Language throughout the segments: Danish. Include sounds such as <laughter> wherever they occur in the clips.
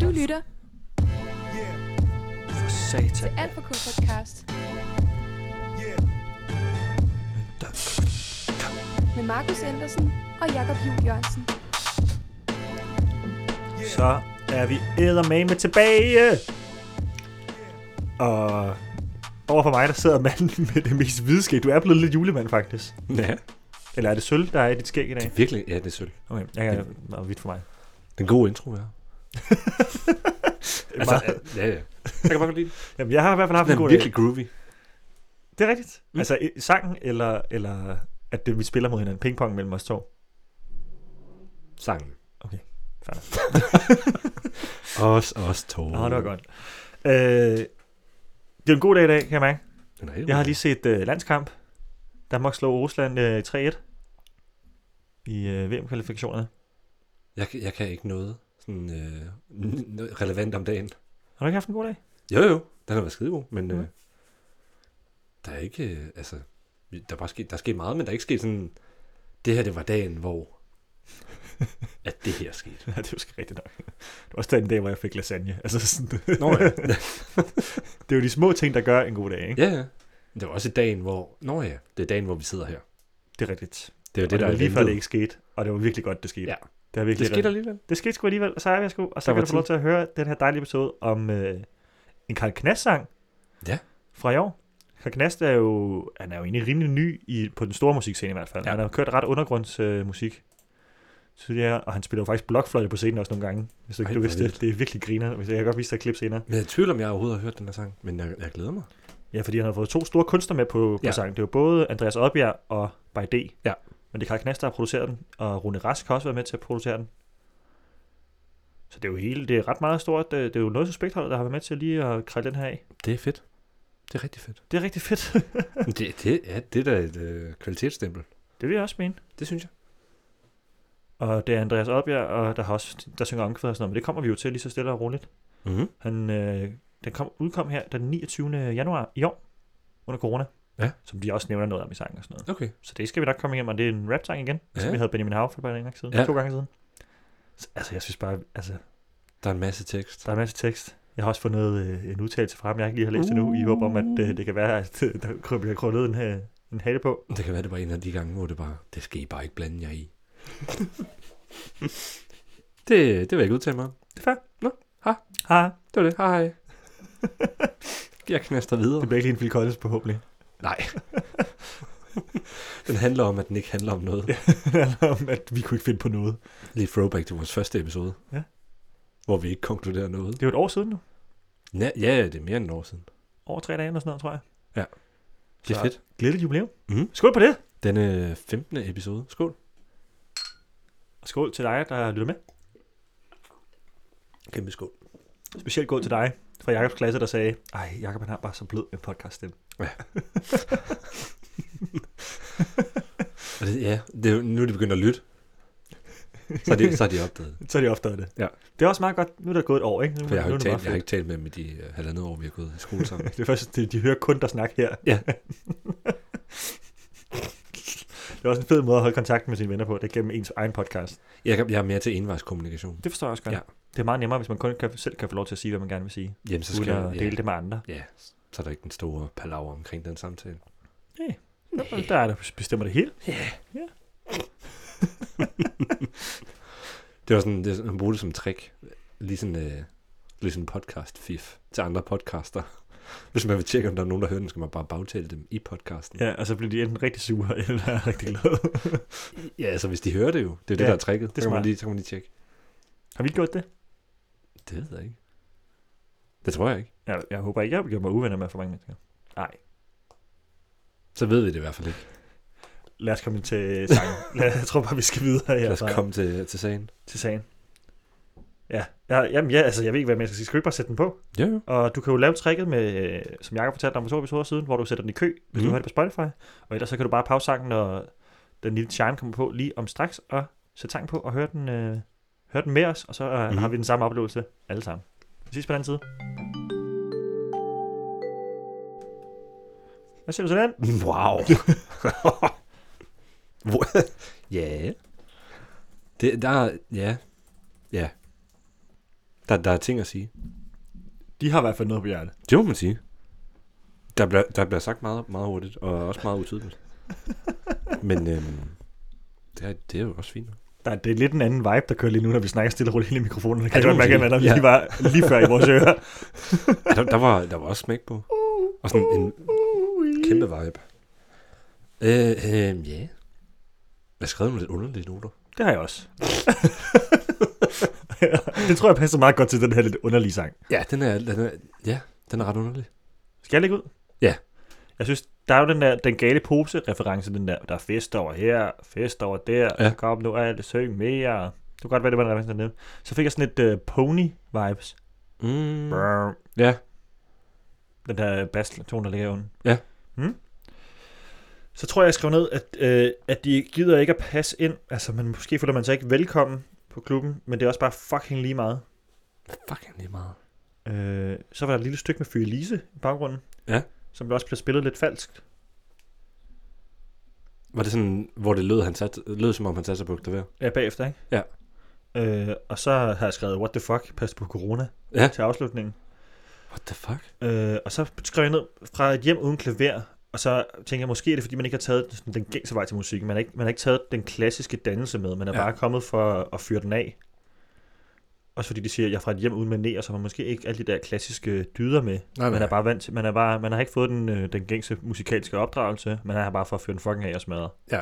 lytter For satan. Alt for K podcast med Markus Andersen og Jakob Juhl Jørgensen. Så er vi eddermame tilbage. Og overfor mig, der sidder manden <laughs> med det mest hvide skæg. Du er blevet lidt julemand, faktisk. Ja, Eller er det sølv, der er i dit skæg i dag? virkelig. Ja, det er sølv. Okay, jeg er meget vidt for mig. Den gode intro, <laughs> ja. Altså, ja, ja. Jeg kan bare godt lide den. Jamen, jeg har i hvert fald haft Den en er god virkelig dag. groovy. Det er rigtigt. Mm. Altså, i- sangen eller, eller at det, vi spiller mod hinanden. Pingpong mellem os to. Sangen. Okay, fair <laughs> os, os to. Åh, oh, det var godt. Øh, det er en god dag i dag, kan jeg mærke. Den er helt Jeg har god. lige set øh, landskamp. Danmark slog Rusland øh, 3-1 i øh, VM-kvalifikationerne. Jeg, kan- jeg kan ikke noget sådan, øh, n- n- relevant om dagen. Har du ikke haft en god dag? Jo, jo. Den har været skidegod, men Mhm. øh, der er ikke... Øh, altså, vi- der er, bare sket, der er sket meget, men der er ikke sket sådan... Det her, det var dagen, hvor... at det her skete. <laughs> Ja, det er jo sgu rigtigt nok. <laughs> Det var også den dag, hvor jeg fik lasagne. Altså, sådan, Nå ja. <laughs> det er jo de små ting, der gør en god dag, ikke? <laughs> ja, ja. Det var også dagen, hvor... Nå ja, det er dagen, hvor vi sidder her. Det er rigtigt. Det var Det, det, der var er lige før ventet. det ikke skete, og det var virkelig godt, det skete. Ja. Det, er virkelig Det skete alligevel. det skete sgu alligevel, og så er vi sgu. Og så Der kan var du få lov til at høre den her dejlige episode om øh, en Karl Knas-sang Ja. fra i år. Karl Knast er jo, han er jo egentlig rimelig ny i, på den store musikscene i hvert fald. Ja. Ja. Han har kørt ret undergrundsmusik øh, musik tidligere, og han spiller jo faktisk blokfløjte på scenen også nogle gange. Hvis du, Ej, du hvor vidste det, vildt. det er virkelig griner. Hvis jeg kan godt vise dig et klip senere. Men jeg er i tvivl om, jeg overhovedet har hørt den her sang, men jeg, jeg glæder mig. Ja, fordi han har fået to store kunstnere med på, på ja. Ja. sangen. Det var både Andreas Oddbjerg og By D. Ja. Men det er Karl Knast, der har produceret den, og Rune Rask har også været med til at producere den. Så det er jo hele, det er ret meget stort. Det, det er jo noget suspektholdet, der har været med til lige at krælle den her af. Det er fedt. Det er rigtig fedt. Det er rigtig fedt. <laughs> det, det, ja, det er da et øh, kvalitetsstempel. det vil jeg også mene. Det synes jeg. Og det er Andreas Oddbjerg, og der, har også, der synger omkvæd og sådan noget, men det kommer vi jo til lige så stille og roligt. Mm-hmm. Han, øh, den kom, udkom her den 29. januar i år, under corona. Ja. Som de også nævner noget om i sangen og sådan noget. Okay. Så det skal vi nok komme igennem, og det er en rap-sang igen, ja. som Ja. vi havde Benjamin Hav for bare en gang siden, ja. Ja. to gange siden. Så, altså, jeg synes bare, altså, Der er en masse tekst. der er en masse tekst. Jeg har også fundet øh, en udtalelse fra ham, jeg ikke lige har læst endnu, i håb om, at øh, det kan være, at øh, der kryb- jeg krøllede en, øh, en hale på. Det kan være, det var en af de gange, hvor det bare, det skal I bare ikke blande <laughs> jer i. det, det vil jeg ikke udtale mig om. Det er fair. Nå, ha. Ha. Det var det. Hej hej. <laughs> jeg knaster videre. Det bliver ikke lige en Phil Collins forhåbentlig. <laughs> Nej. den handler om, at den ikke handler om noget. Ja. Det handler om, at vi kunne ikke finde på noget. Lige throwback til vores første episode. Ja. Hvor vi ikke konkluderer noget. Det er jo et år siden nu. Ja, ja, det er mere end et år siden. Over tre dage eller sådan noget, tror jeg. Det er Så- fedt. Glædeligt jubilæum. Mhm. Skål på det. Den øh, 15. episode. Skål. Og skål til dig, der lytter med. Kæmpe skål. Specielt god til dig fra Jakobs klasse, der sagde, ej, Jakob han har bare så blød en podcast stemme. Og det, ja, det er, jo- nu er de begyndt at lytte. Så er de, så er de <laughs> opdaget. det. Så er de oftere det. Ja. Det er også meget godt, nu er der gået et år, ikke? Nu, For jeg har, nu jo er det ikke talt, meget jeg har fedt. ikke talt med dem i de øh, halvandet år, vi har gået i <laughs> skole sammen. Det er først, de, de hører kun der snak her. Ja. <laughs> det er også en fed måde at holde kontakt med sine venner på, det er gennem ens egen podcast. Jeg, kan- jeg er mere til envejskommunikation. Det forstår jeg også godt. Ja. Det er meget nemmere, hvis man kun kan, selv kan få lov til at sige, hvad man gerne vil sige, Jamen, så skal uden at jeg, dele ja, det med andre. ja, så er der ikke den store palaver omkring den samtale. Hey. Der er der bestemmer det hele. Det var sådan, det, man brugte det som trick. Lige sådan, øh, ligesom podcast-fif til andre podcaster. <laughs> Hvis man vil tjekke, om der er nogen, der hører den, skal man bare bagtale dem i podcasten. Ja, og så bliver de enten rigtig sure, <laughs> eller rigtig glade. <laughs> ja altså hvis de hører det jo. Det er jo det, Ja, der er tricket. er Det så, kan man smart. lige, så kan man lige tjekke. har vi gjort det? Det ved jeg ikke. Det tror jeg ikke. Jeg, jeg håber ikke, jeg har gjort mig uvenner med for mange mennesker. Nej. Så ved vi det i hvert fald ikke. Lad os komme til <laughs> sangen. Lad- jeg tror bare, vi skal videre Ja, her. Lad os komme til, til sagen. til sagen. Ja, ja jamen ja, altså, jeg ved ikke, hvad man skal sige. Skal vi ikke bare sætte den på? Ja, jo. Og du kan jo lave tricket, med, øh, som Jacob fortalte om for to episoder siden, hvor du sætter den i kø, hvis mm. du Mhm. har det på Spotify. Og ellers så kan du bare pause sangen, når den lille chime kommer på lige om straks, og sætte sangen på og høre den, øh, høre den med os, og så øh, mm. Mhm. har vi den samme oplevelse alle sammen. Vi ses på den anden side. Hvad siger du til den? Wow. Hvor- ja. Det, der, er- ja. Ja. Der, der er ting at sige. De har i hvert fald noget på hjertet. Det må man sige. Der bliver, der bliver sagt meget, meget hurtigt, og også meget utydeligt. Men øhm, det, er, det er jo også fint. nok. Der, det er lidt en anden vibe, der kører lige nu, når vi snakker stille og roligt ind i mikrofonen. Det kan det jeg godt må man mærke, sige. at der Ja. lige var lige før i vores <laughs> ører. Ja, der, der, var, der var også smæk på. Og sådan en kæmpe vibe. Øh, øh, ja. Jeg skrev nogle lidt underlige noter. Det har jeg <laughs> også. det tror jeg passer meget godt til den her lidt underlige sang. Ja, den er, den er, ja, den er ret underlig. Skal jeg lægge ud? Ja. Jeg synes, der er jo den der, den gale pose-reference, den der, der er fest over her, fest over der, Ja. ja. kom nu alt, søg mere. Det kunne godt være, det var en reference dernede. Så fik jeg sådan lidt øh, pony-vibes. Mm. Mm. Ja, Den der bass-tone, der ligger under. Ja. Mm. Så tror jeg, jeg skrev ned, at, øh, at de gider ikke at passe ind. Altså, man, måske føler man sig ikke velkommen på klubben, men det er også bare fucking lige meget. fucking lige meget. Øh, så var der et lille stykke med Fyre Lise i baggrunden. Ja. Som der også blev spillet lidt falskt. Var det sådan, hvor det lød, han sat, lød som om han satte sig på klaver? Ja, bagefter, ikke? Ja. Øh, og så har jeg skrevet, what the fuck, pas på corona, Ja. til afslutningen. What the fuck? Øh, og så skrev jeg ned fra et hjem uden klaver, og så tænker jeg, måske er det, fordi man ikke har taget sådan den gængse vej til musik. Man har ikke, man har ikke taget den klassiske dannelse med, man er Ja. ja. bare kommet for at fyre den af. Også fordi de siger, at jeg er fra et hjem uden maner, så man måske ikke alle de der klassiske dyder med. Nej, Man er bare vant til, man, er bare, man har ikke fået den, øh, den gængse musikalske opdragelse, man er her bare for at fyre den fucking af og smadre. Ja.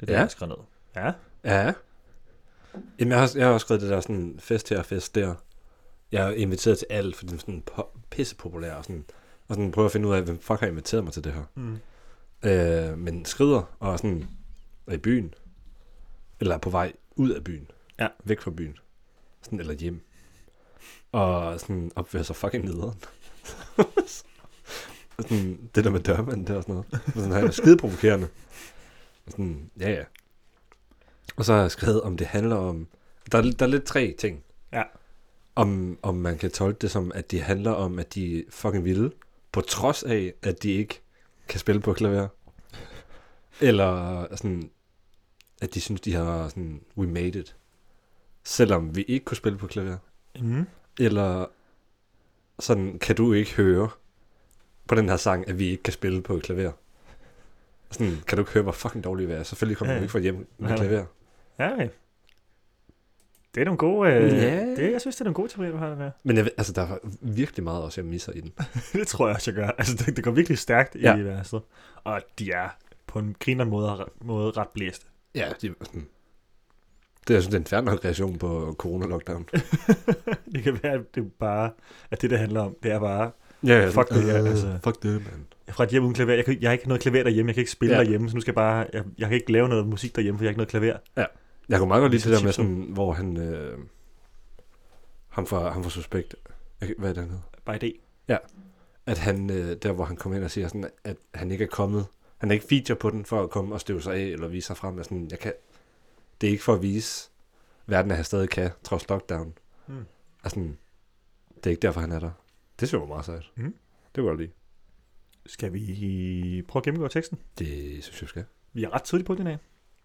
Det er det, Ja. ja. jeg skrev ned. Ja. Ja. Jamen, jeg har, jeg har også skrevet det der sådan fest her og fest der. Jeg er inviteret til alt, for den er sådan po- pissepopulær og sådan. Og sådan prøver at finde ud af, hvem fuck har inviteret mig til det her. Mm. Øh, men skrider og er sådan er i byen. Eller er på vej ud af byen. Ja. Væk fra byen. Sådan, eller hjem. Og sådan opfører sig fucking nederen. <laughs> Og sådan, det der med dørmanden der og sådan noget. Og sådan, han er skide provokerende. Og sådan, ja ja. Og så har jeg skrevet, om det handler om... Der er, der er lidt tre ting. Ja. Om, om man kan tolke det som, at det handler om, at de er fucking vilde, på trods af, at de ikke kan spille på klaver. Eller sådan, at de synes, de har sådan, we made it. Selvom vi ikke kunne spille på klaver. Mm. Eller sådan, kan du ikke høre på den her sang, at vi ikke kan spille på et klaver? Sådan, kan du ikke høre, hvor fucking dårlig vi er? Selvfølgelig Ja, kommer ja. ja. du ikke fra hjem med Nej, nej. klaver. Ja, okay. Det er nogle gode... Øh, Ja. det, jeg synes, det er nogle gode teorier, du har der. Men jeg, ved- altså, der er virkelig meget også, jeg misser i den. <laughs> det tror jeg også, jeg gør. Altså, det, det går virkelig stærkt Ja. i værelset. Og de er på en griner måde, måde ret blæste. Ja, det er sådan... Det, jeg synes, det er en færdig nok reaktion på corona-lockdown. <laughs> Det kan være, at det er bare... At det, det handler om, det er bare... ja, ja, Fuck det, <laughs> ja, øh, altså. Fuck det, mand. Jeg er fra et hjem uden klaver. Jeg, kan, jeg har ikke noget klaver derhjemme. Jeg kan ikke spille Ja. ja. derhjemme. Så nu skal jeg bare... Jeg, jeg kan ikke lave noget musik derhjemme, for jeg har ikke noget klaver. Jeg kunne meget godt lide det Ligesom der med sådan, hvor han... Øh, ham fra, ham fra Suspekt... Jeg kan- Hvad er det, han hedder? Bare idé. at han, øh, der hvor han kom hen og siger sådan, at han ikke er kommet, han er ikke feature på den for at komme og støve sig af, eller vise sig frem, at sådan, jeg kan, det er ikke for at vise verden, at han stadig kan, trods lockdown. Mm. Mm. Og sådan, det er ikke derfor, han er der. Det synes jeg var meget sejt. Mm. Det var lige. Skal vi prøve at gennemgå teksten? Det synes jeg, vi skal. Vi er ret tidligt på den af.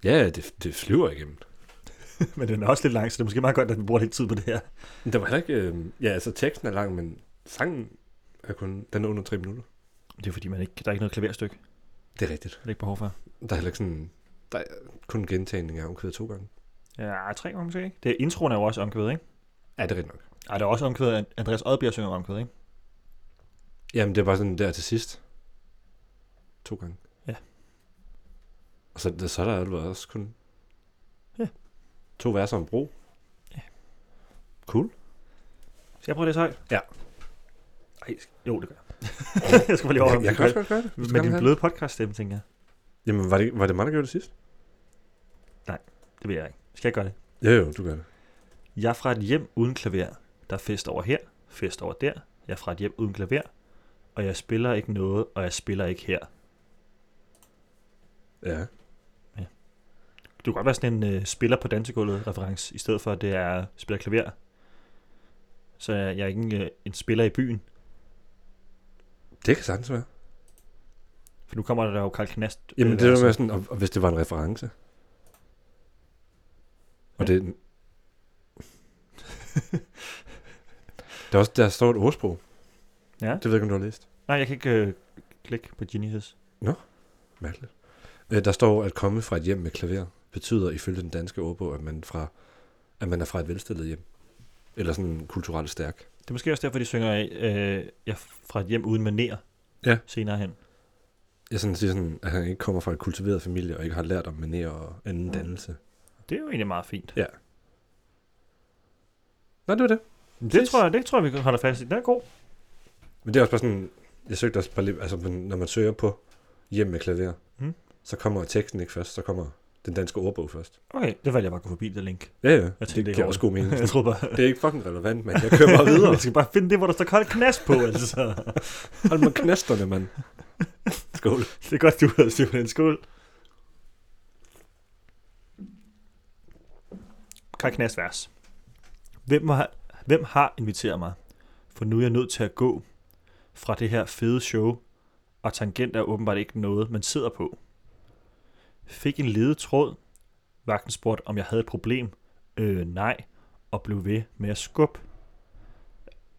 Ja, det, det flyver igennem. <laughs> Men den er også lidt lang, så det er måske meget godt, at vi bruger lidt tid på det her. Men Der var heller ikke, øh, ja, altså teksten er lang, men sangen er kun, den er under tre minutter. Det er fordi, man ikke, der er ikke noget klaverstykke. Det Det er rigtigt. er ikke behov for. Der er heller ikke sådan, der er kun gentagninger omkvædet to gange. Ja, tre gange måske, ikke? Det er, introen er jo også omkvædet, ikke? Ja, det er rigtigt nok. Ej, der er også omkvædet, at Andreas Oddbjerg synger omkvædet, ikke? Jamen, det er bare sådan der til sidst. To gange. Ja. Og så, så er der alligevel også kun Ja. to verser om bro. Ja. Cool. Skal jeg prøve det så højt? Ja. Ej, sk- jo, det gør jeg. <laughs> jeg skal bare lige over. jeg, jeg kan også godt gøre det. hvis du Med gerne din vil have bløde podcaststemme, tænker jeg. det. Jamen, var det, var det mig, der gjorde det sidst? Det vil jeg ikke. Skal jeg gøre det? Jo, jo, du gør det. Jeg er fra et hjem uden klaver. Der er fest over her, fest over der. Jeg er fra et hjem uden klaver. Og jeg spiller ikke noget, og jeg spiller ikke her. Ja. Det kunne godt være sådan en øh, spiller på dansegulvet reference, i stedet for at det er spiller klaver. Så jeg, jeg er ikke en, øh, en spiller i byen. Det kan sagtens være. For nu kommer der jo Karl Knast. Jamen, øh, det var altså. med sådan, og, og hvis det var en reference. Og <laughs> Ja. det... Der, er også, der står et ordsprog. Ja. Det ved jeg ikke, om du har læst. Nej, jeg kan ikke øh, klikke på Genie His. Mærkeligt. Øh, Der står, at komme fra et hjem med klaver betyder ifølge den danske ordbog, at man, fra, at man er fra et velstillet hjem. Eller sådan kulturelt stærk. Det er måske også derfor, de synger øh, jeg er fra et hjem uden maner Ja. senere hen. Jeg sådan siger sådan, at han ikke kommer fra en kultiveret familie, og ikke har lært om manerer og anden Mm. dannelse. Det er jo egentlig meget fint. Nå, det var det. Det tror, jeg, det tror jeg, vi holder fast i. Den er god. Men det er også bare sådan, jeg søgte også bare lidt, altså men når man søger på hjem med klaver, Mm. mm. så kommer teksten ikke først, så kommer den danske ordbog først. Okay, det valgte jeg bare at gå forbi, det link. Ja, ja, Jeg tænkte, det det giver er også god mening. <laughs> jeg troede bare, Det er ikke fucking relevant, men jeg kører bare <laughs> videre. jeg skal bare finde det, hvor der står koldt knas på, altså. Hold mig knasterne, mand. Skål. <laughs> Det er godt, du har styr på den skål. Kaj Knas vers. Hvem har, hvem har inviteret mig? For nu er jeg nødt til at gå fra det her fede show, og tangent er åbenbart ikke noget, man sidder på. Fik en ledet tråd. Vagten spurgte, om jeg havde et problem. Øh, nej. Og blev ved med at skubbe.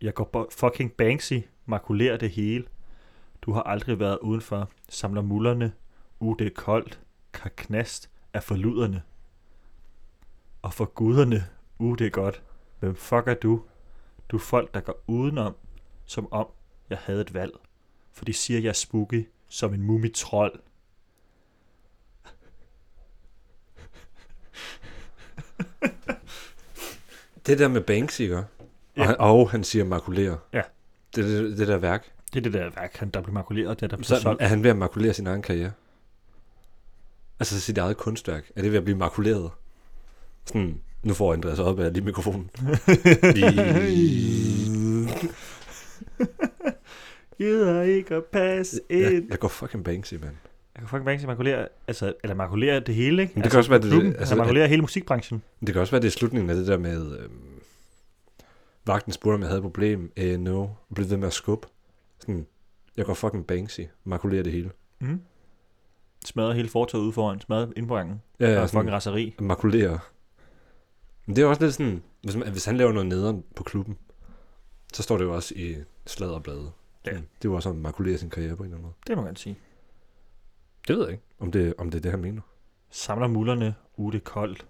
Jeg går bo- fucking Banksy, makulerer det hele. Du har aldrig været udenfor, samler mullerne, u det er koldt, kan knast af forluderne. Og for guderne, u det er godt, hvem fuck er du? Du er folk, der går udenom, som om jeg havde et valg. For de siger, jeg er spooky som en mumitrol. Det der med Banksy, ikke? Og, Ja. han, og han siger makulere. Ja. Det, det, det der værk. Det er det der værk, han der blev makuleret, det er der blev Så solgt. <laughs> er han ved at makulere sin egen karriere. Altså sit eget kunstværk. Er det ved at blive makuleret? Sådan, nu får Andreas op af lige <laughs> mikrofonen. I- Gider ikke at passe jeg, ind. jeg går fucking Banksy, mand. Jeg kan fucking Banksy makulere, altså, eller makulere det hele, ikke? Men det altså, kan også være, det, klubben, altså, altså, han makulerer hele musikbranchen. det kan også være, det er slutningen af det der med... Øhm, vagten spurgte, om jeg havde et problem. Øh, no. Og blev ved med at skubbe. Sådan, jeg går fucking Banksy. Makulerer det hele. Mm. Smadrer hele fortoget ude foran, smadrer indbrangen. Ja, Ja, og sådan- fucking raseri. makulere. Men det er jo også lidt sådan, hvis, man, hvis han laver noget nederen på klubben, så står det jo også i sladderbladet. Ja. Sådan, Det er jo også at makulere sin karriere på en eller anden måde. Det må man sige. Det ved jeg ikke, om det, om det er det, han mener. Samler mullerne, uge det er koldt.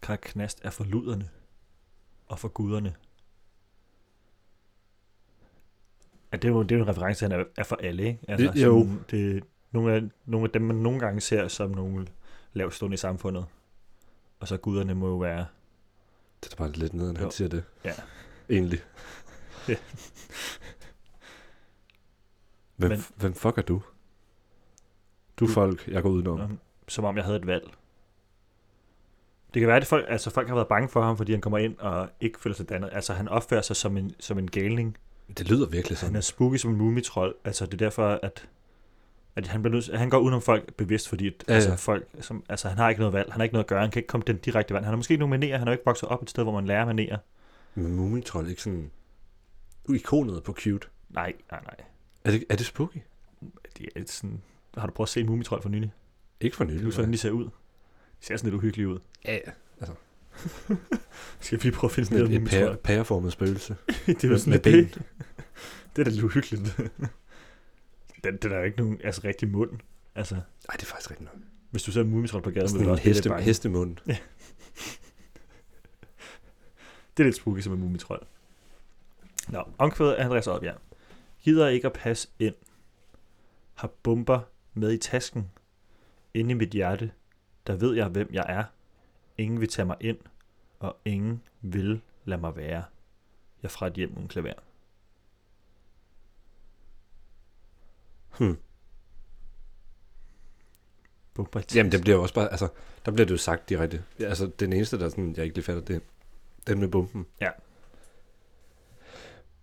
Krak knast er for luderne og for guderne. Ja, det er jo, det er jo en reference, han er, er for alle, ikke? Det- jo. Sådan, det, nogle, af, nogle af dem, man nogle gange ser som nogle lavstående i samfundet. Og så guderne må jo være... Det er da bare lidt nederen, han Jo. siger det. Ja. Egentlig. Ja. hvem, Men- Men... hvem fuck er du? Du er Du- folk, jeg går udenom. Nå. som om jeg havde et valg. Det kan være, at folk, altså folk har været bange for ham, fordi han kommer ind og ikke føler sig dannet. Altså han opfører sig som en, som en galning. Det lyder virkelig sådan. Han er spooky som en mumitrol. Altså det er derfor, at, at han, bliver nødt, at han går udenom folk bevidst, fordi at, ja, Ja, ja. altså, folk, som, altså, han har ikke noget valg. Han har ikke noget at gøre. Han kan ikke komme den direkte vand. Han har måske ikke nogen manerer. Han har jo ikke vokset op et sted, hvor man lærer manerer. Men Mumintroll er ikke sådan ikonet på cute. Nej, nej, nej. Er det, er det spooky? Det er et sådan, har du prøvet at se en mumitrol for nylig? Ikke for Det er jo nylig. sådan, nej. de ser ud. De ser sådan lidt uhyggelige ud. Ja, ja. Altså, Skal vi lige prøve at finde sådan sådan et, en et pære, mumitrol? pæreformet spøgelse. <laughs> det er jo med- sådan med lidt det. Det er da lidt uhyggeligt. den, den er jo ikke nogen altså, rigtig mund. Altså, Nej, det er faktisk rigtigt nok. hvis du ser en mumitrol på gaden, så Sådan er en det heste, heste, lidt hest. hestemund. Det er lidt spooky som en mumitrol. Nå, omkvædet af Andreas Oddbjerg. Gider ikke at passe ind. Har bomber med i tasken. Inde i mit hjerte, der ved jeg, hvem jeg er. Ingen vil tage mig ind, og ingen vil lade mig være. Jeg er fra et hjem uden klaver. Hmm. Bomber i tasken. Jamen, det bliver jo også bare, altså, der bliver det jo sagt direkte. Ja, altså, den eneste, der sådan, jeg ikke lige fatter, det er den med bomben. Ja.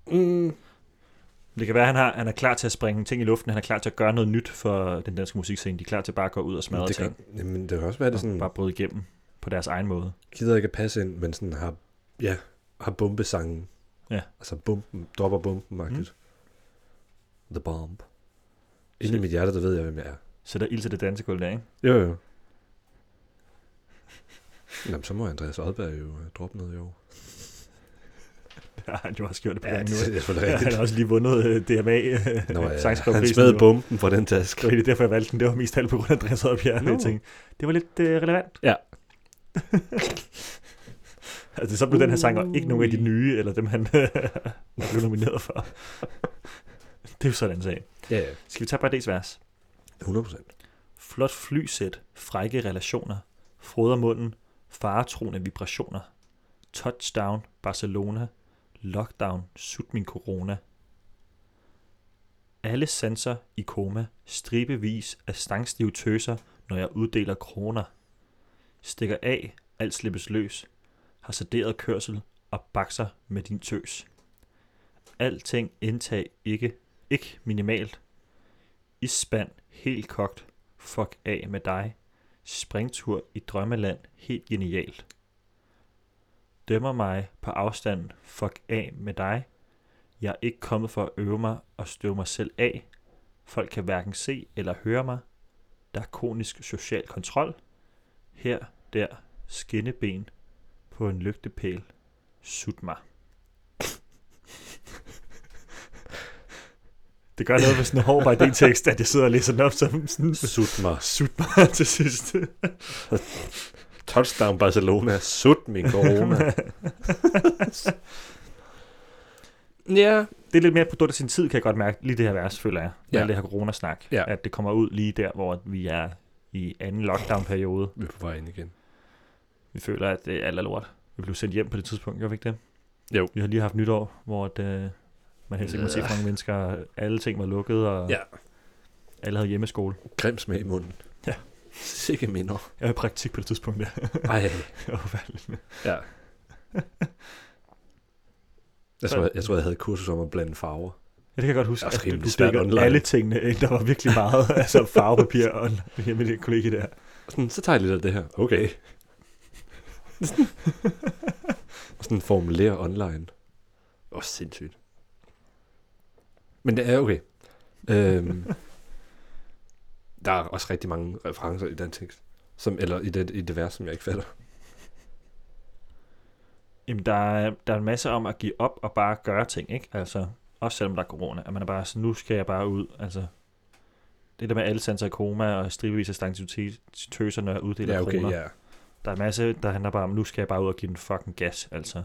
Mm, Det kan være, at han, har, han er klar til at springe ting i luften, han er klar til at gøre noget nyt for den danske musikscene. De er klar til bare at gå ud og smadre det ting, kan, jamen, det kan også være, at det og sådan, bare bryde igennem på deres egen måde. gider ikke at passe ind, men sådan har, ja, har bombesangen. Ja. Mhm. Altså, bomben, dropper bomben, markedet. Mm. The bomb. Inde i Så- mit hjerte, der ved jeg, hvem jeg er. Så der er ild til det dansegulv der, ikke? Jo, jo. <laughs> Jamen, så må Andreas Odberg jo øh, droppe noget i år. Det har han jo også gjort det på Ja, <laughs> ja, det, nu. <laughs> det er <laughs> selvfølgelig Ja, han rigtigt. har også lige vundet øh, DMA. Nå, ja, han sangskriverprisen smed jo. bomben fra den taske. Det var egentlig derfor, jeg valgte den. Det var mest alt på grund af Andreas Oddbjerg. Nå. No. Jeg tænkte, det var lidt øh, relevant. Ja. <laughs> altså, så blev den her sanger ikke nogen af de nye, eller dem, han <laughs> øh, blev nomineret for. det er jo sådan en sag. Ja, ja. Skal vi tage bare vers? 100 procent. Flot flysæt, frække relationer, froder munden, faretroende vibrationer. Touchdown, Barcelona, lockdown, sut min corona. Alle sanser i koma, stribevis af stangstive tøser, når jeg uddeler kroner. Stikker af, alt slippes løs, har sederet kørsel og bakser med din tøs. Alting indtag ikke, ikke minimalt. Isspand helt kogt, Fuck af med dig. Springtur i drømmeland. Helt genialt. Dømmer mig på afstand. Fuck af med dig. Jeg er ikke kommet for at øve mig og støve mig selv af. Folk kan hverken se eller høre mig. Der er konisk social kontrol. Her, der, skinneben på en lygtepæl. Sut mig. Det gør noget med sådan en hård tekst, at jeg sidder og læser den op som sådan Sut mig. Sut mig til sidst. Touchdown Barcelona. Sut min corona. ja. Det er lidt mere et produkt af sin tid, kan jeg godt mærke, lige det her vers, føler jeg. Med Ja. ja. det her coronasnak. Ja. Ja. At det kommer ud lige der, hvor vi er i anden lockdown-periode. <laughs> Vi er på vej ind igen. Vi føler, at det er alt er lort. Vi blev sendt hjem på det tidspunkt, gør vi ikke det? Jo. Vi har lige haft nytår, hvor at, øh, man helst ikke må se for mange mennesker. Alle ting var lukket, og Ja. alle havde hjemmeskole. Grim smag i munden. Ja. Sikke minder. Jeg var i praktik på det tidspunkt, der. Ej. <laughs> Jeg var fandme- Ja. Jeg tror, jeg, jeg tror, jeg havde et kursus om at blande farver. Ja, det kan jeg godt huske. Det er også at du, rimelig du svært dækker online. alle tingene ind. Der var virkelig meget <laughs> altså farvepapir og hjemme i det kollega der. Sådan, så tager jeg lidt af det her. Okay. og sådan formulere online. Åh, oh, sindssygt. Men det er okay. Øhm, der er også rigtig mange referencer i den tekst. Som, eller i det, i det vers, som jeg ikke fatter. Jamen, der er, der er en masse om at give op og bare gøre ting, ikke? Altså, også selvom der er corona, at man er bare sådan, nu skal jeg bare ud, altså. Det der med alle sanser i koma og stribevis af stangtøser, når jeg uddeler ja, okay, kroner. Ja. Der er en masse, der handler bare om, nu skal jeg bare ud og give den fucking gas, altså.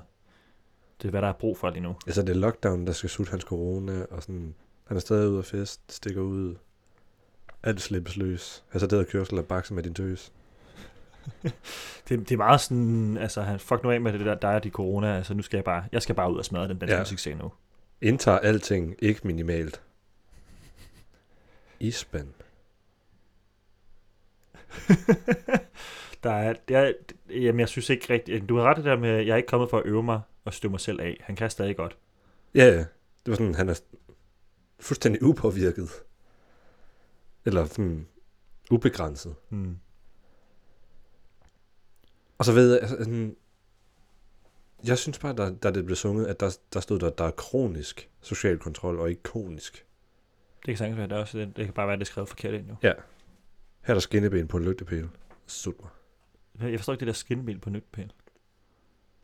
Det er, hvad der er brug for lige nu. Altså, det er lockdown, der skal sutte hans corona, og sådan... Han er stadig ude af fest, stikker ud. Alt slippes løs. Altså, det hedder kørsel og bakse med din tøs. Det, det er meget sådan, altså, han- fuck nu af med det der, dig og de corona, altså, nu skal jeg bare, jeg skal bare ud og smadre den danske Ja. ja. musikscene nu. Indtager alting ikke minimalt. Isband. Der er, jeg, jamen, jeg synes ikke rigtigt, du har ret i det der med, jeg er ikke kommet for at øve mig og støve mig selv af. Han kan stadig godt. Ja, ja. Det var sådan, han er fuldstændig upåvirket. Eller sådan ubegrænset. Hmm. Og så ved jeg, altså, sådan, jeg synes bare, da, da det blev sunget, at der, der stod der, der er kronisk social kontrol og ikke konisk. Det kan sagtens være, det er også det. Det kan bare være, at det er skrevet forkert ind jo. Her er der skinneben på en lygtepæl. Sut mig. Jeg forstår ikke det der skinmel på nytpæl. Er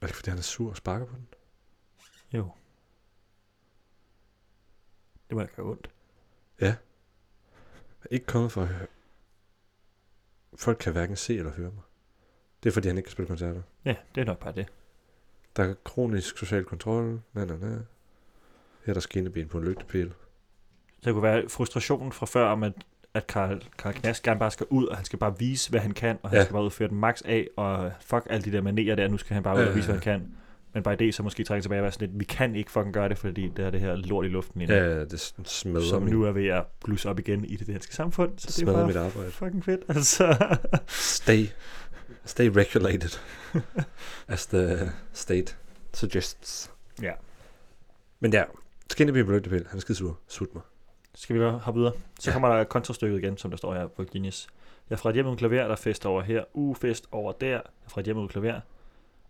det ikke, fordi han er sur og sparker på den? Jo. Det må da gøre ondt. Jeg er ikke kommet for at høre. Folk kan hverken se eller høre mig. Det er, fordi han ikke kan spille koncerter. Ja, det er nok bare det. Der er kronisk social kontrol. Na, na, na. Her er der skinneben på en lygtepæl. Så det kunne være frustrationen fra før om, at, at Karl, Karl Knast gerne bare skal ud, og han skal bare vise, hvad han kan, og han Ja. ja. skal bare ud og føre den max af, og fuck alle de der manerer der, nu skal han bare ud Ja, og vise, ja, hvad han kan. Men bare i det, så måske trække tilbage og være sådan lidt, vi kan ikke fucking gøre det, fordi det er det her lort i luften lige nu. Ja, det s- smadrer, som min, nu er ved at blusse op igen i det danske samfund, så det er smadrer mit bare arbejde. fucking fedt. Altså. Stay, stay <laughs> regulated, as the state suggests. Ja. Men ja, skinneben på en lygtepæl. Han er skide sur. Sut mig. Skal vi bare hoppe videre? Så Ja. ja. kommer der kontrastykket igen, som der står her på Guinness. Jeg er fra et hjem uden klaver, der er fest over her. Uh, fest over der. Jeg er fra et hjem uden klaver.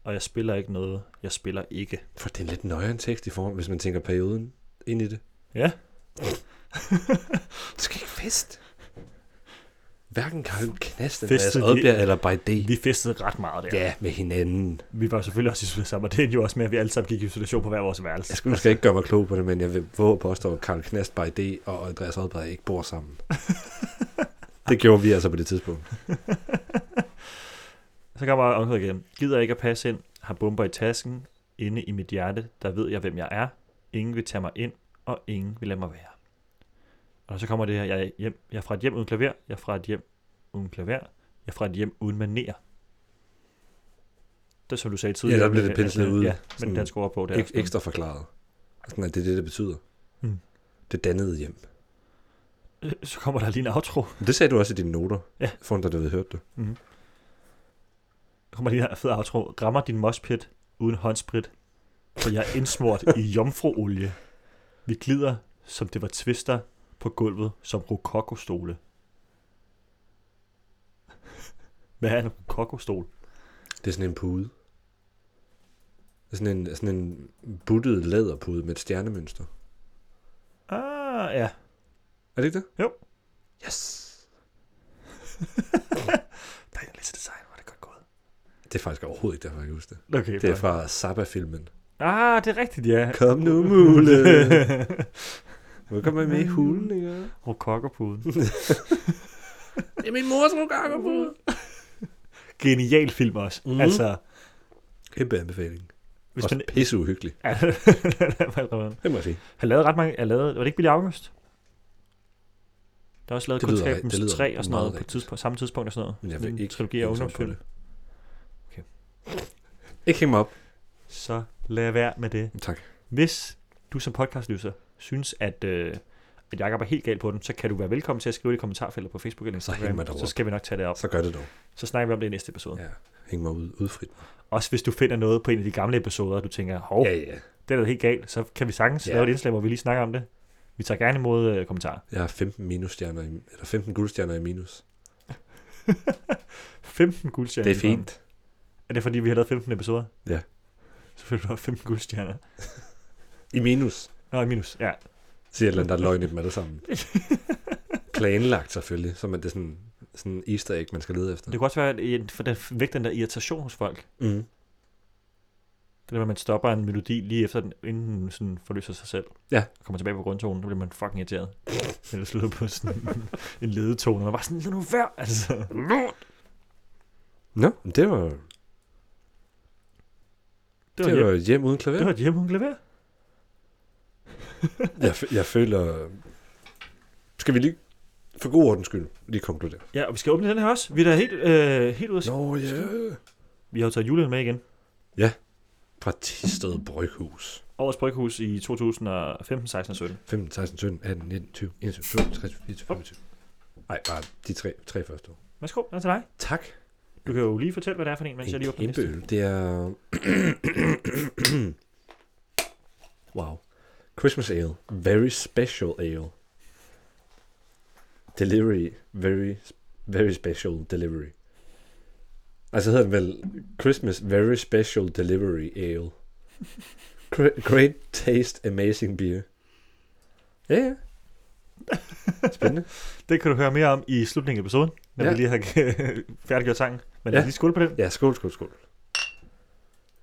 Og jeg spiller ikke noget. Jeg spiller ikke. For det er en lidt nøjere en tekst i forhold, hvis man tænker perioden ind i det. Ja. Du skal ikke fest. hverken Karin Knast, Andreas Festede de- Oddbjerg eller By Day. Vi festede ret meget der. Ja, med hinanden. Vi var selvfølgelig også i sammen, og det endte jo også med, at vi alle sammen gik i isolation på hver vores værelse. Jeg skal måske ikke gøre mig klog på det, men jeg vil våge at påstå, at Karl Knast, By Day og Andreas Oddbjerg ikke bor <laughs> sammen. det gjorde vi altså på det tidspunkt. Så kommer omkring igen. Gider ikke at passe ind. Har bomber i tasken. Inde i mit hjerte, der ved jeg, hvem jeg er. Ingen vil tage mig ind, og ingen vil lade mig være. Og så kommer det her. Jeg er, hjem, jeg er fra et hjem uden klaver. Jeg er fra et hjem uden klaver. Jeg er fra et hjem uden maner. Det som du sagde tidligere. der blev det at- penslet at- ud. Ja, men Sådan den danske ord på der. Ek- ekstra forklaret. Sådan, at det er det, det betyder. Mm. Det dannede hjem. Øh, Så kommer der lige en outro. Men Det sagde du også i dine noter, Ja. foran da du havde hørt det. Så kommer lige en fed outro. Rammer din mospit uden håndsprit, for jeg er indsmurt i jomfruolie. Vi glider, som det var twister, på gulvet som rokokostole. Hvad er en rokokostol? Det er sådan en pude. Det er sådan en, sådan en buttet læderpude med et stjernemønster. Ah, <laughs> ja. Er det ikke det? Jo. Yes! Der er lidt til design, var det godt gået. Det er faktisk overhovedet ikke derfor, jeg kan huske det. Okay, Det er fra Zappa-filmen. Ah, det er rigtigt, ja. Kom nu, <laughs> mule! Må jeg komme med i hulen, ikke? Rokokopuden. Det er min mors Mm-hmm. rukakkerpude! Genial film også. Mhm. Mm. Altså, Kæmpe anbefaling. hvis Også man... pisse uhyggelig. Ja, <laughs> Det må jeg sige. Han lavede ret mange... Han lavede, var det ikke Billy August? Der er også lavet Det lyder Kontabens ri- det lyder 3 og sådan meget noget på rigtigt. tidspunkt, samme tidspunkt og sådan noget. Men jeg Sådan vil en ikke Trilogi af hænges op på ungdomsfilm. Ikke hæng mig op. Så lad være med det. Tak. Hvis du som podcastlyser synes, at, øh, at Jacob er helt galt på den, så kan du være velkommen til at skrive det i kommentarfeltet på Facebook eller Så hæng mig Instagram. dog Så op. skal vi nok tage det op. Så gør det dog. Så snakker vi om det i næste episode. Ja. Ja. Hæng mig ud, udfrit. Også hvis du finder noget på en af de gamle episoder, og du tænker, hov, Oh. ja. Ja, ja. det er da helt galt, så kan vi sagtens Ja. ja. lave et indslag, hvor vi lige snakker om det. Vi tager gerne imod øh, kommentarer. <laughs> Jeg har 15 minusstjerner, i, eller 15 guldstjerner i minus. 15 guldstjerner. Det er fint. Er det fordi, vi har lavet 15 episoder? Ja. Selvfølgelig har 15 guldstjerner. I minus, Nå, i minus, <laughs> ja. siger et eller andet, der er løgn i dem alle sammen. Planlagt selvfølgelig, som at det er sådan, sådan en easter egg, man skal lede efter. Det kunne også være, at i- for der væk den der irritation hos folk. Mm. Det der med, at man stopper en melodi lige efter den, inden den sådan forløser sig selv. Ja. Og kommer tilbage på grundtonen, så bliver man fucking irriteret. Eller slutter på sådan <laughs> en- en ledetone, og man er bare sådan, lad nu være, altså. Nå, men det var, Det det var, var, hjem, hjem. hjem uden klaver. det var et hjem, hun klaver. Jeg, f- jeg føler... Skal vi lige, for god ordens skyld, lige konkludere? Ja, og vi skal åbne den her også. Vi er da helt, øh, helt ude. af- Nå ja. Vi har jo taget julen med igen. Fra Tisted Bryghus. Årets Bryghus i 2015, 16 og 17. 15, 16, 17, 18, 19, 20, 21, 22, 23, 24, 25. Nej, bare de tre, tre første år. Værsgo, den er til dig. Tak. Du kan jo lige fortælle, hvad det er for en, mens jeg lige en åbner den kæmpe næste. øl. Det er... <clears throat> wow. Christmas Ale. Very special ale. Delivery. Very, very special delivery. Altså hedder den vel Christmas Very Special Delivery Ale. Gre- Great taste, amazing beer. Ja, yeah. ja. <laughs> Spændende. Det kan du høre mere om i slutningen af episoden, når Ja. ja. vi lige har <laughs> færdiggjort sangen. Men lad Ja. os lige skåle på den. Ja, skål, skål, skål.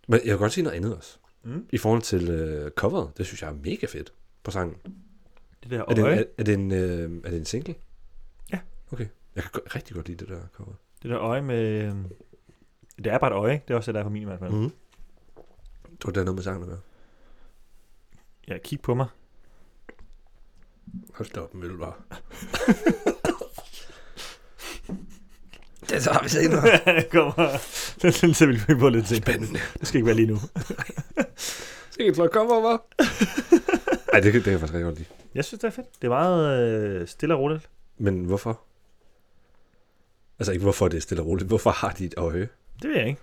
Men jeg vil godt sige noget andet også. Mm. I forhold til øh, coveret, det synes jeg er mega fedt på sangen. Det der Er det, øje, er, er, det en, øh, er det en single? Ja. Okay. Jeg kan godt, rigtig godt lide det der cover. det der øje med... øhm, Det er bare et øje, ikke? Det er også det, der er på min i hvert fald. Mm. Jeg tror, det har noget med sangen at gøre. Ja, kig på mig. Hold da op, Mølle bare. det tager vi senere. Det <laughs> kommer... Den synes jeg, vi lige på lidt til. Spændende. Det skal ikke være lige nu. Skal I slå cover, hva'? Ej, det, kan- det kan jeg faktisk rigtig godt lide. Jeg synes, det er fedt. Det er meget øh, stille og roligt. Men hvorfor? Altså ikke hvorfor det er stille og roligt. Hvorfor har de et øje? Det ved jeg ikke.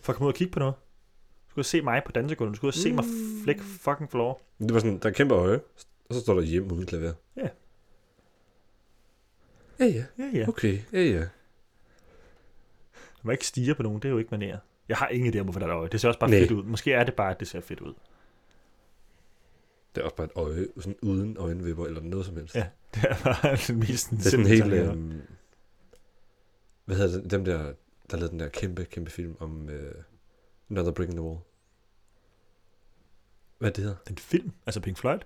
For at komme ud og kigge på noget. Du skulle se mig på dansegulvet. Du skulle se Mm. mig flæk fucking floor. Det var sådan, der er kæmpe øje, og så står der hjem uden klaver. Ja. Ja, ja. Ja, ja. Okay, ja, ja. Man må ikke stige på nogen. Det er jo ikke manér. Jeg har ingen idé om, hvorfor der er et øje. Det ser også bare Nej. fedt ud. Måske er det bare, at det ser fedt ud. Det er også bare et <laughs> øje, sådan uden øjenvipper eller noget som helst. Ja. Det er øh, bare den mest Det er sådan helt øhm, Hvad hedder det, dem der, der lavede den der kæmpe, kæmpe film om øh, Another Brick in the Wall? Hvad er det hedder? Den film, altså Pink Floyd,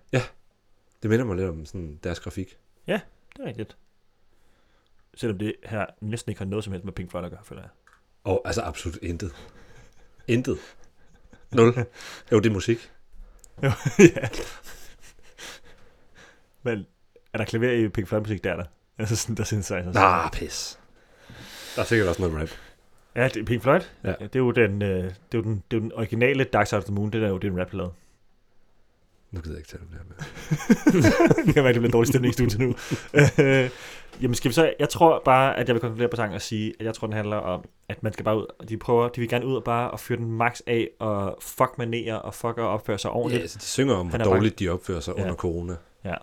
Det minder mig lidt om sådan deres grafik. det er rigtigt. Selvom det her næsten ikke har noget som helst med Pink Floyd at gøre, føler jeg. Og altså absolut intet. intet. Nul. Jo, det er musik. <laughs> ja. <laughs> Men er der klaver i Pink Floyd musik, der er der? <laughs> Altså sådan, der synthesizer. Nah, pis. Der er sikkert også noget rap. Ja, det er Pink Floyd. Ja. Det er jo den, øh, det er jo den, det er jo den originale Dark Side of the Moon, det der er jo det, er en rap lavet. Nu gider jeg ikke tale om det her mere. jeg kan mærke, <laughs> det bliver en dårlig stemning i studiet nu. øh, jamen skal vi så, jeg tror bare, at jeg vil konkludere på tanken og sige, at jeg tror, den handler om, at man skal bare ud, og de prøver, de vil gerne ud og bare at fyre den max af, og fuck manerer, og fuck at opføre sig Ja, ordentligt. altså, de synger om, hvor Han er bange. dårligt de opfører sig Ja. ja. under corona. Ja.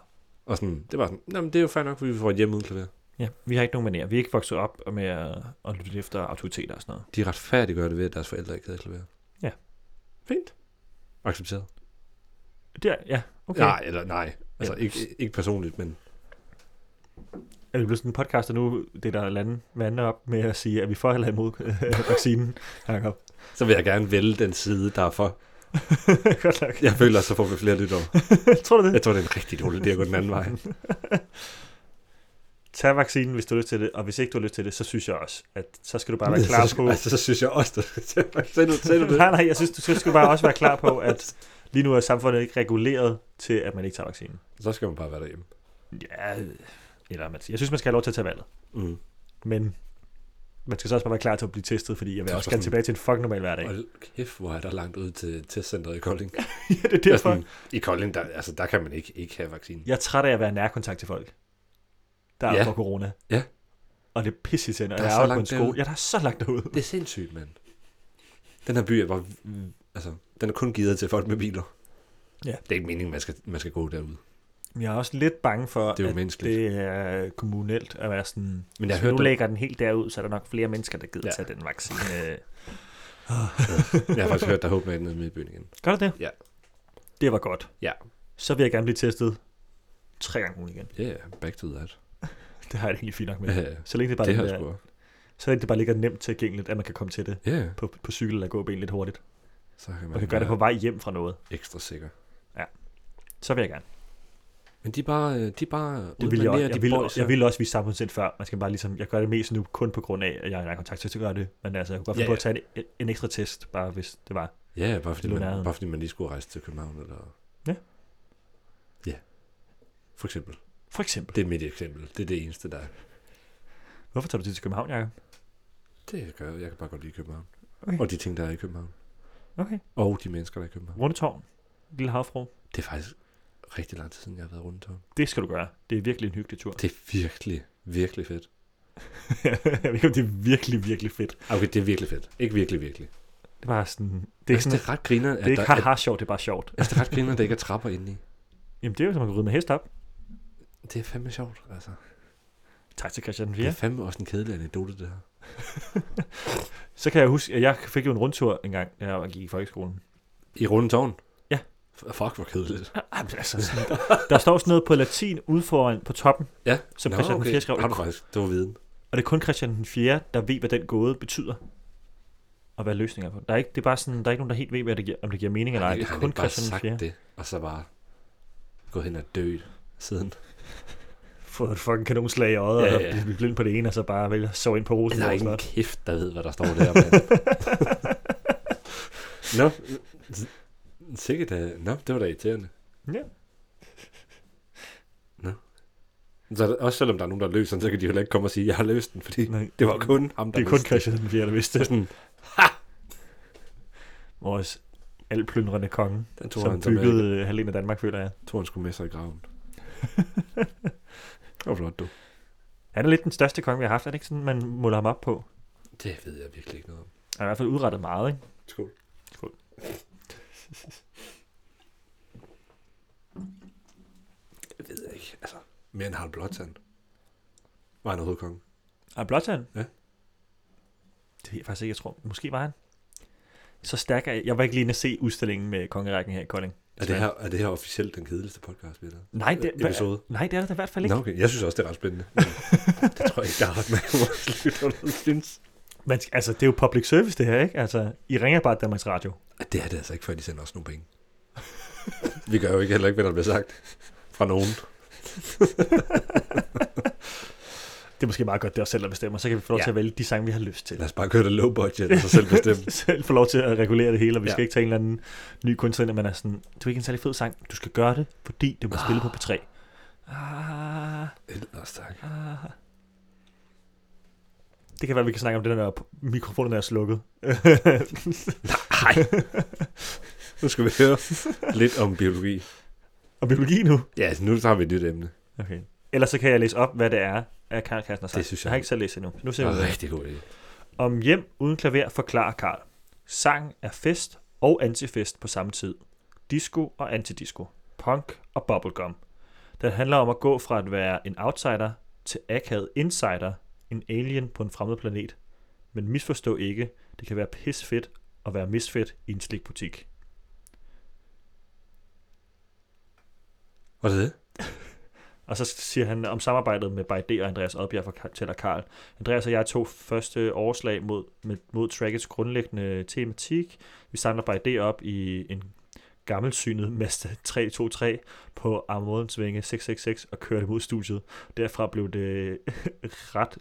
Og sådan, det var sådan, Nå, men det er jo fair nok, fordi vi får et hjem uden klaver. Ja, vi har ikke nogen manerer. Vi er ikke vokset op med at, at lytte efter autoriteter og sådan noget. De retfærdiggør det ved, at deres forældre ikke havde klaver. Ja. Fint. Accepteret. Der, ja, okay. Okay. Nej, eller nej. Altså, Ja. ja. ikke, ikke personligt, men Er vi blevet sådan en podcast, der nu det der lande vandrer op med at sige, at vi får eller imod øh, vaccinen, Jacob? <laughs> så vil jeg gerne vælge den side, der er for. Godt nok. Jeg føler, så får vi flere lyttere. Tror du det? Jeg tror, det er en rigtig dårlig idé at gå den anden vej. Tag vaccinen, hvis du har lyst til det, og hvis ikke du har lyst til det, så synes jeg også, at så skal du <laughs> bare være klar på... Altså, så synes jeg også, det. <laughs> Sagde du, sagde du det? nej, nej, jeg synes, du skal- skal bare også være klar på, at lige nu er samfundet ikke reguleret til, at man ikke tager vaccinen. Så skal man bare være derhjemme. Ja, eller man, jeg synes, man skal have lov til at tage valget. Mm. Men man skal så også bare være klar til at blive testet, fordi jeg vil Så også er gerne sådan- tilbage til en fucking normal hverdag. <laughs> Og kæft, hvor er der langt ud til testcenteret i Kolding. ja, det er Det er derfor. sådan, I Kolding, der, altså, der kan man ikke, ikke have vaccinen. Jeg er træt af at være nærkontakt til folk, der er Ja. for corona. Ja. Og det er pisse til, og Der jeg er er så arbejder på en langt skole. derud. Ja, der er så langt derude. Det er sindssygt, mand. Den her by er bare, altså, den er kun givet til folk med biler. Ja. Det er ikke meningen, man skal, man skal gå derud. Men Jeg er også lidt bange for, Det er jo at menneskeligt. det er kommunelt at være sådan, Men jeg hvis vi hørte nu det- lægger den helt derud, så er der nok flere mennesker, der gider ja. Ja. tage den vaccine. Øh, Jeg har faktisk hørt, der håber man nede med i byen igen. Gør du det? Ja. Det var godt. Ja. Så vil jeg gerne blive testet tre gange om ugen igen. Ja, yeah, back to that. Det har jeg det egentlig fint nok med. Ja, ja. Så længe det bare, Øh, det har ligger, jeg sgu. så længe det bare ligger nemt tilgængeligt, at man kan komme til det Ja, yeah. på, på cykel eller gå ben lidt hurtigt. så kan man, Man kan gøre det på vej hjem fra noget. ekstra sikker. Så vil jeg gerne. Men de er bare, øh, de er bare Det uden vil jeg, manerer, også. jeg, de vil, bolser. jeg vil også vise samfundssind før. Man skal bare ligesom, jeg gør det mest nu kun på grund af, at jeg er i kontakt til at gøre det. Men altså, jeg kunne godt finde Ja, på at tage en, en, ekstra test, bare hvis det var. Ja, ja, bare fordi, Det lå man, nærheden. bare fordi man lige skulle rejse til København eller... Ja. Ja. For eksempel. For eksempel. Det er mit eksempel. Det er det eneste, der er. Hvorfor tager du til København, Jacob? Det gør jeg. Jeg kan bare godt lide København. Okay. Okay. Og de ting, der er i København. Okay. Og de mennesker, der er i København. Rundetårn. Lille havfru. Det er faktisk rigtig lang tid siden, jeg har været rundt om. Det skal du gøre. Det er virkelig en hyggelig <laughs> tur. Det er virkelig, virkelig fedt. jeg ved ikke, om det er virkelig, virkelig fedt. Okay, det er virkelig fedt. Ikke virkelig, virkelig. Det Det var sådan... er, Det er, altså, sådan, det er ret griner, at det er ikke der, at, haha sjovt, det er bare sjovt. altså, det er ret griner, at der ikke er trapper inde i. Jamen det er jo som at ride med hest op. Det er fandme sjovt, altså. Tak til Christian Det 4. er fandme også en kedelig anekdote, det her. Så kan jeg huske, at jeg fik jo en rundtur en gang, da jeg gik i folkeskolen. I runde tårn? Ja. F- Fuck, hvor kedeligt. Jamen, altså, sådan, <laughs> der, der står sådan noget på latin ude foran på toppen, Ja. som Christian okay. 4 skrev. Har du faktisk? Det var viden. Og det er kun Christian den 4., der ved, hvad den gåde betyder. Og hvad løsninger er på. Der er ikke, det er bare sådan, der er ikke nogen, der helt ved, hvad det giver, om det giver mening eller ej. Han- Det er han kun ikke bare Christian den sagt 4. det, og så bare gået hen og død siden. Fået et fucking kanonslag i øjet, Ja, ja, ja. ja. og blive blind på det ene, og så bare vælge at sove ind på Altså, Der er Rosenborg. ingen Slot. kæft, der ved, hvad der står der, mand. Nå, s- sikkert da. <laughs> Nå, det var da irriterende. Ja. Nå. Så er der- også selvom der er nogen, der løser den, så kan de heller ikke komme og sige, jeg har løst den, fordi Nej. Nej. det var kun ham, der Det er kun vidste Christian den 4., der vidste <laughs> Det er det. sådan, Vores alplyndrende konge. den tog Som han, som byggede... byggede øh, halvdelen af Danmark, føler jeg. tog han skulle med sig i <laughs> graven. det var flot, du. Han er lidt den største konge, vi har haft. Er det ikke sådan, man måler ham op på? Det ved jeg virkelig ikke noget om. Han er i hvert fald udrettet meget, ikke? Skål. Skål. <laughs> Jeg ved ikke, altså. Mere end Harald Blåtand. Var han overhovedet konge? Er Blåtand? Ja. Det ved jeg faktisk ikke, jeg tror. Måske var han. Så stærk er jeg. Jeg var ikke lige inde at se udstillingen med kongerækken her i Kolding. Er det, her, er det her officielt den kedeligste podcast, vi har lavet? Nej, det, hva- Øh, Episode. nej, det er det da i hvert fald ikke. Nå, No. okay. Jeg synes også, det er ret spændende. Men det tror jeg ikke, der er ret mange vores lyttere, der synes. Men, altså, det er jo public service, det her, ikke? Altså, I ringer bare Danmarks Radio. Ej, Det er det altså ikke, før de sender os nogle penge. Vi gør jo ikke heller ikke, hvad der bliver sagt fra nogen. Det er måske meget godt, det er os selv, der bestemmer. Så kan vi få lov ja. Ja. til at vælge de sange, vi har lyst til. Lad os bare køre det low budget og så selv <laughs> bestemme. selv få lov til at regulere det hele, og vi ja. Ja. skal ikke tage en eller anden ny kunstner, ind, men er sådan, du er ikke en særlig fed sang, du skal gøre det, fordi det må spille på P3. Ah, Ellers tak. ah. Det kan være, vi kan snakke om det, når mikrofonen er slukket. Nej. nu skal vi høre lidt om biologi. og biologi nu. Ja, altså, nu tager vi et nyt emne. Okay. Ellers så kan jeg læse op, hvad det er, at Karl Kastner sagt. Det synes jeg. jeg har ikke selv læst endnu. Så nu ser Det vi, er hvad det er. rigtig god idé. Om hjem uden klaver forklarer Karl. Sang er fest og antifest på samme tid. Disco og antidisco. Punk og bubblegum. Den handler om at gå fra at være en outsider til akavet insider, en alien på en fremmed planet. Men misforstå ikke, det kan være pisfedt at være misfedt i en slikbutik. Var det det? Og så siger han om samarbejdet med Bajde og Andreas Oddbjerg fra Teller Karl. Andreas og jeg tog første overslag mod, med, mod trackets grundlæggende tematik. Vi samler Bajde op i en gammelsynet Mazda 323 på Armodensvinge 666 og kørte mod studiet. Derfra blev det <laughs> ret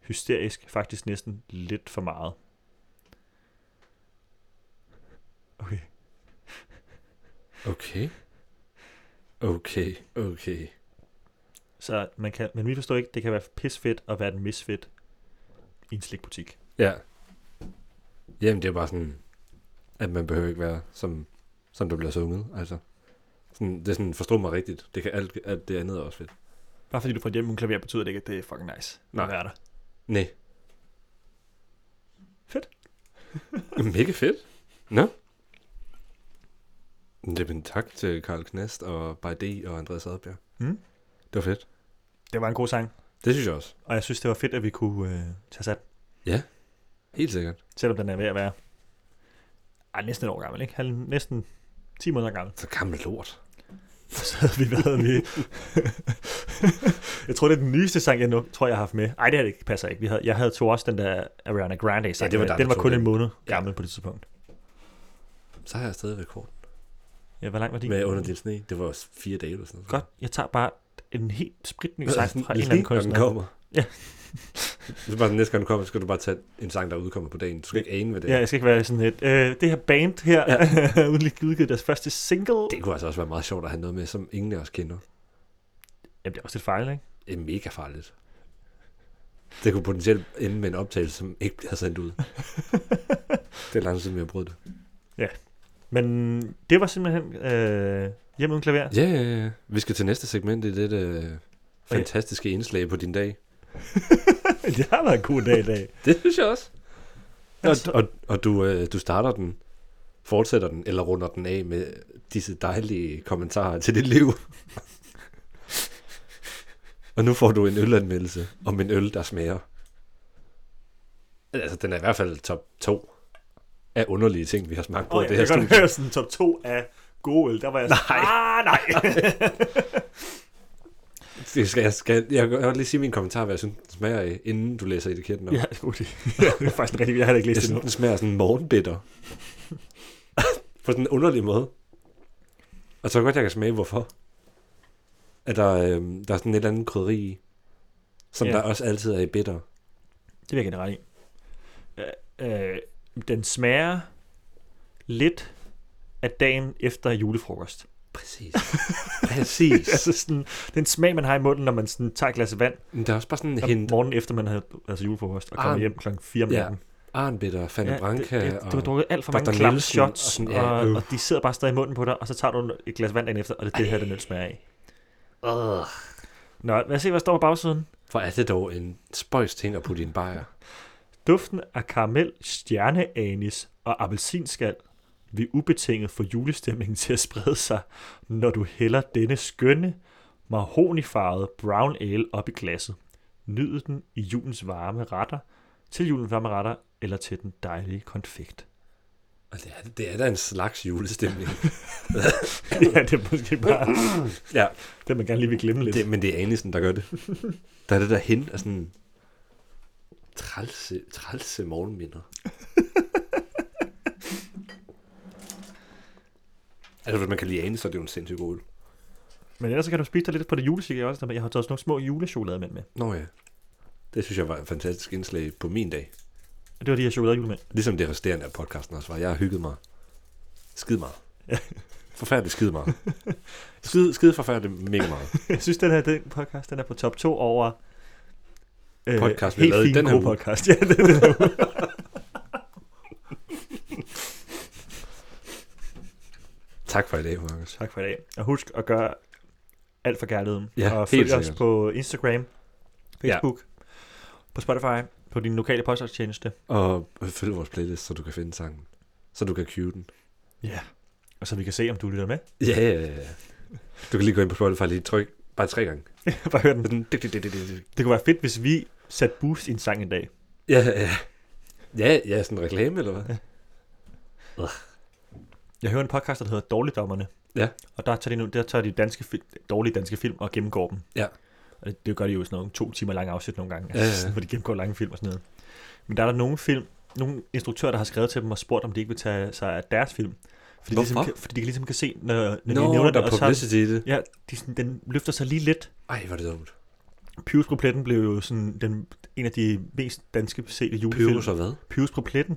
hysterisk, faktisk næsten lidt for meget. Okay. Okay. Okay, okay. Så man kan, men vi forstår ikke, det kan være pisfedt at være den misfedt i en slikbutik. Ja. Jamen, det er bare sådan, at man behøver ikke være, som, som der bliver sunget. Altså, sådan, det er sådan, forstå mig rigtigt. Det kan alt, alt det andet er også fedt. Bare fordi du får et hjem uden klaver, betyder det ikke, at det er fucking nice. Nej. At være der. Nej. Fedt. <laughs> Mega fedt. Nå. Jamen, tak til Karl Knast og Bajde og Andreas Adbjerg. Mm. Det var fedt. Det var en god sang, Det synes jeg også. og jeg synes, det var fedt, at vi kunne øh, tage sat, Helt sikkert. selvom den er ved at være ej, næsten et år gammel, ikke? Halv, næsten 10 måneder gammel. <laughs> Så gammel lort. Så havde vi været vi... <laughs> jeg tror, det er den nyeste sang, jeg nu, tror, jeg har haft med. Ej, det her det passer ikke. Vi havde, jeg havde to også den der Ariana Grande sang. Ja, det var med. dig, den der var tog kun den. en måned gammel på det tidspunkt. Så har jeg stadig rekord. Ja, hvor lang var din? Med under din sne. Det var også fire dage eller sådan noget. Godt, jeg tager bare en helt spritny Sådan, sang fra en lige eller anden når den kunstner. kommer. Ja. <laughs> det er bare sådan, næste gang du kommer, så skal du bare tage en sang, der udkommer på dagen. Du skal ikke ane, hvad det Ja, er. jeg skal ikke være sådan et, øh, det her band her, ja. <laughs> uden lige udgivet deres første single. Det kunne altså også være meget sjovt at have noget med, som ingen af os kender. Jamen, det er også lidt fejl, ikke? Det er mega farligt. Det kunne potentielt ende med en optagelse, som ikke bliver <laughs> sendt ud. det er lang tid, siden, vi har prøvet det. Men det var simpelthen øh, hjemme uden klaver. Ja, ja, ja. Vi skal til næste segment i det øh, fantastiske indslag på din dag. <laughs> det har været en god dag i dag. <laughs> Det synes jeg også. Altså- Og, og, og du, øh, du starter den, fortsætter den, eller runder den af med disse dejlige kommentarer til dit <laughs> liv. og nu får du en ølanmeldelse om en øl, der smager. Altså, den er i hvert fald top 2 af underlige ting, vi har smagt på Åh, oh, ja, ja, det her jeg kan studie. godt høre sådan top 2 af gode øl. Der var jeg sådan, ah, <laughs> nej. Det skal, jeg, skal, jeg kan godt lige sige min kommentar, hvad jeg synes, den smager af, inden du læser etiketten op. ja, det er god idé. <laughs> ja, det er faktisk en rigtig, jeg har heller ikke læst Jeg det synes, nu. den smager sådan morgenbitter. <laughs> på sådan en underlig måde. Og så godt, jeg kan smage, hvorfor. At der, øh, der er sådan et eller andet krydderi i, som Ja. ja. der også altid er i bitter. Det vil jeg gerne ret i. Øh, øh, den smager lidt af dagen efter <laughs> julefrokost. Præcis. Præcis. <laughs> altså sådan, den smag, man har i munden, når man sådan tager et glas vand Men der er også bare sådan en om hint. morgenen efter, man havde altså julefrokost, og kommer Ah. hjem klokken 4 om Ja, natten. Arnbitter, Fanny Branca. det, det, du har og- drukket alt for Dr. mange klam Nielsen og shots, og, sådan, ja, og, øh. og de sidder bare stadig i munden på dig, og så tager du et glas vand dagen efter, og det er det her, den øl smager af. Nå, lad os se, hvad der står på bagsiden. Hvor er det dog en spøjs ting at putte i en bajer. Duften af karamel, stjerneanis og appelsinskal vil ubetinget få julestemningen til at sprede sig, når du hælder denne skønne, mahonifarvede brown ale op i glasset. Nyd den i julens varme retter, til julens varme retter eller til den dejlige konfekt. <laughs> Og det er, det er da en slags julestemning. ja, det er måske bare ja, det, man gerne lige vil glemme lidt. det, men det er Anisen, der gør <laughs> det. Der er det der hen af sådan trælse, trælse morgenminder. <laughs> altså, hvis man kan lide Anis, så er det jo en sindssygt god øl. Men ellers så kan du spise dig lidt på det julechokolade også. Jeg har taget sådan nogle små julechokolademænd med. Nå ja. Det synes jeg var et fantastisk indslag på min dag. Det var de her chokoladejulemænd. Ligesom det resterende af podcasten også var. Jeg har hygget mig. Skid <laughs> meget. Forfærdeligt skide meget. Skide, skide forfærdeligt mega meget. <laughs> Jeg synes, den her den podcast, den er på top 2 over... Øh, Podcast, vi helt har lavet i fin, den her god uge. podcast. <laughs> Ja, den, den her uge. Tak for i dag, Markus. tak for i dag. Og husk at gøre alt for kærligheden. Ja, og helt følg os sikkert. på Instagram, Facebook, på Spotify, på din lokale podcasttjeneste. Og følg vores playlist, så du kan finde sangen. Så du kan cue den. Ja. Og så vi kan se, om du lytter med. <laughs> Ja, ja, ja, ja. Du kan lige gå ind på Spotify og lige trykke bare tre gange. Bare hør den. Sådan, dik, dik, dik, dik, dik, dik. Det kunne være fedt, hvis vi satte boost i en sang en dag. Ja, ja. Ja, ja, sådan en reklame, eller hvad? Jeg hører en podcast, der hedder Dårligdommerne. Ja. Og der tager de, nu- der tager de danske film, dårlige danske film og gennemgår dem. Ja. Og det, det gør de jo i sådan nogle to timer lange afsnit nogle gange, Ja, ja, ja, ja. ja. Altså, sådan, hvor de gennemgår lange film og sådan noget. Men der er der nogle film, nogle instruktører, der har skrevet til dem og spurgt, om de ikke vil tage sig af deres film. Fordi, de ligesom, Hvorfor? kan, fordi de ligesom kan se, når, når Nå, de nævner der den, er og så, publicity i det. ja, de, sådan, den løfter sig lige lidt. Ej, hvor er det dumt. Pyrus på pletten blev jo sådan den, en af de mest danske sete julefilm. Pyrus og hvad? Pyrus på pletten.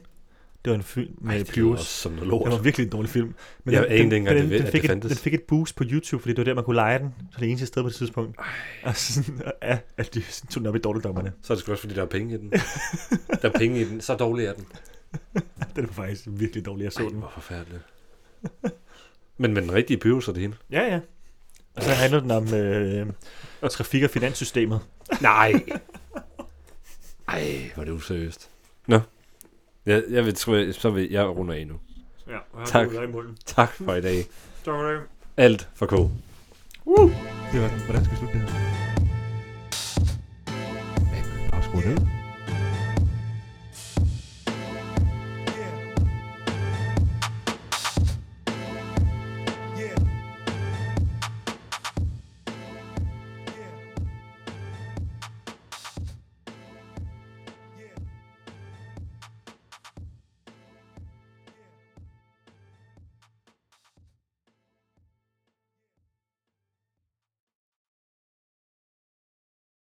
Det var en film med Ej, det lyder Pyrus. også som noget Det var lort. virkelig en dårlig film. den- Jeg anede ikke den- engang, den, det- den, at fik det et, fandtes. den fik et boost på YouTube, fordi det var der, man kunne lege den. Så det eneste sted på det tidspunkt. Og sådan, øh, ja, at de sådan tog den op i dårligdommerne. <laughs> Så er det sgu også, fordi der er penge i <laughs> den. Der er penge i den, så dårlig er den. Den var faktisk virkelig dårlig, jeg så Ej, den. hvor forfærdeligt. Men med den rigtige Pyrus er det hende. Ja, ja. Og så handler den om øh, trafik- og finanssystemet. Nej. Ej, hvor er det useriøst. Nå. Jeg, jeg vil, tror, jeg, så vil jeg runde af nu. Ja, Tak. tak. Det Tak for i dag. for det. Alt for K. var den. Hvordan skal vi slutte det her? Bare skru ned.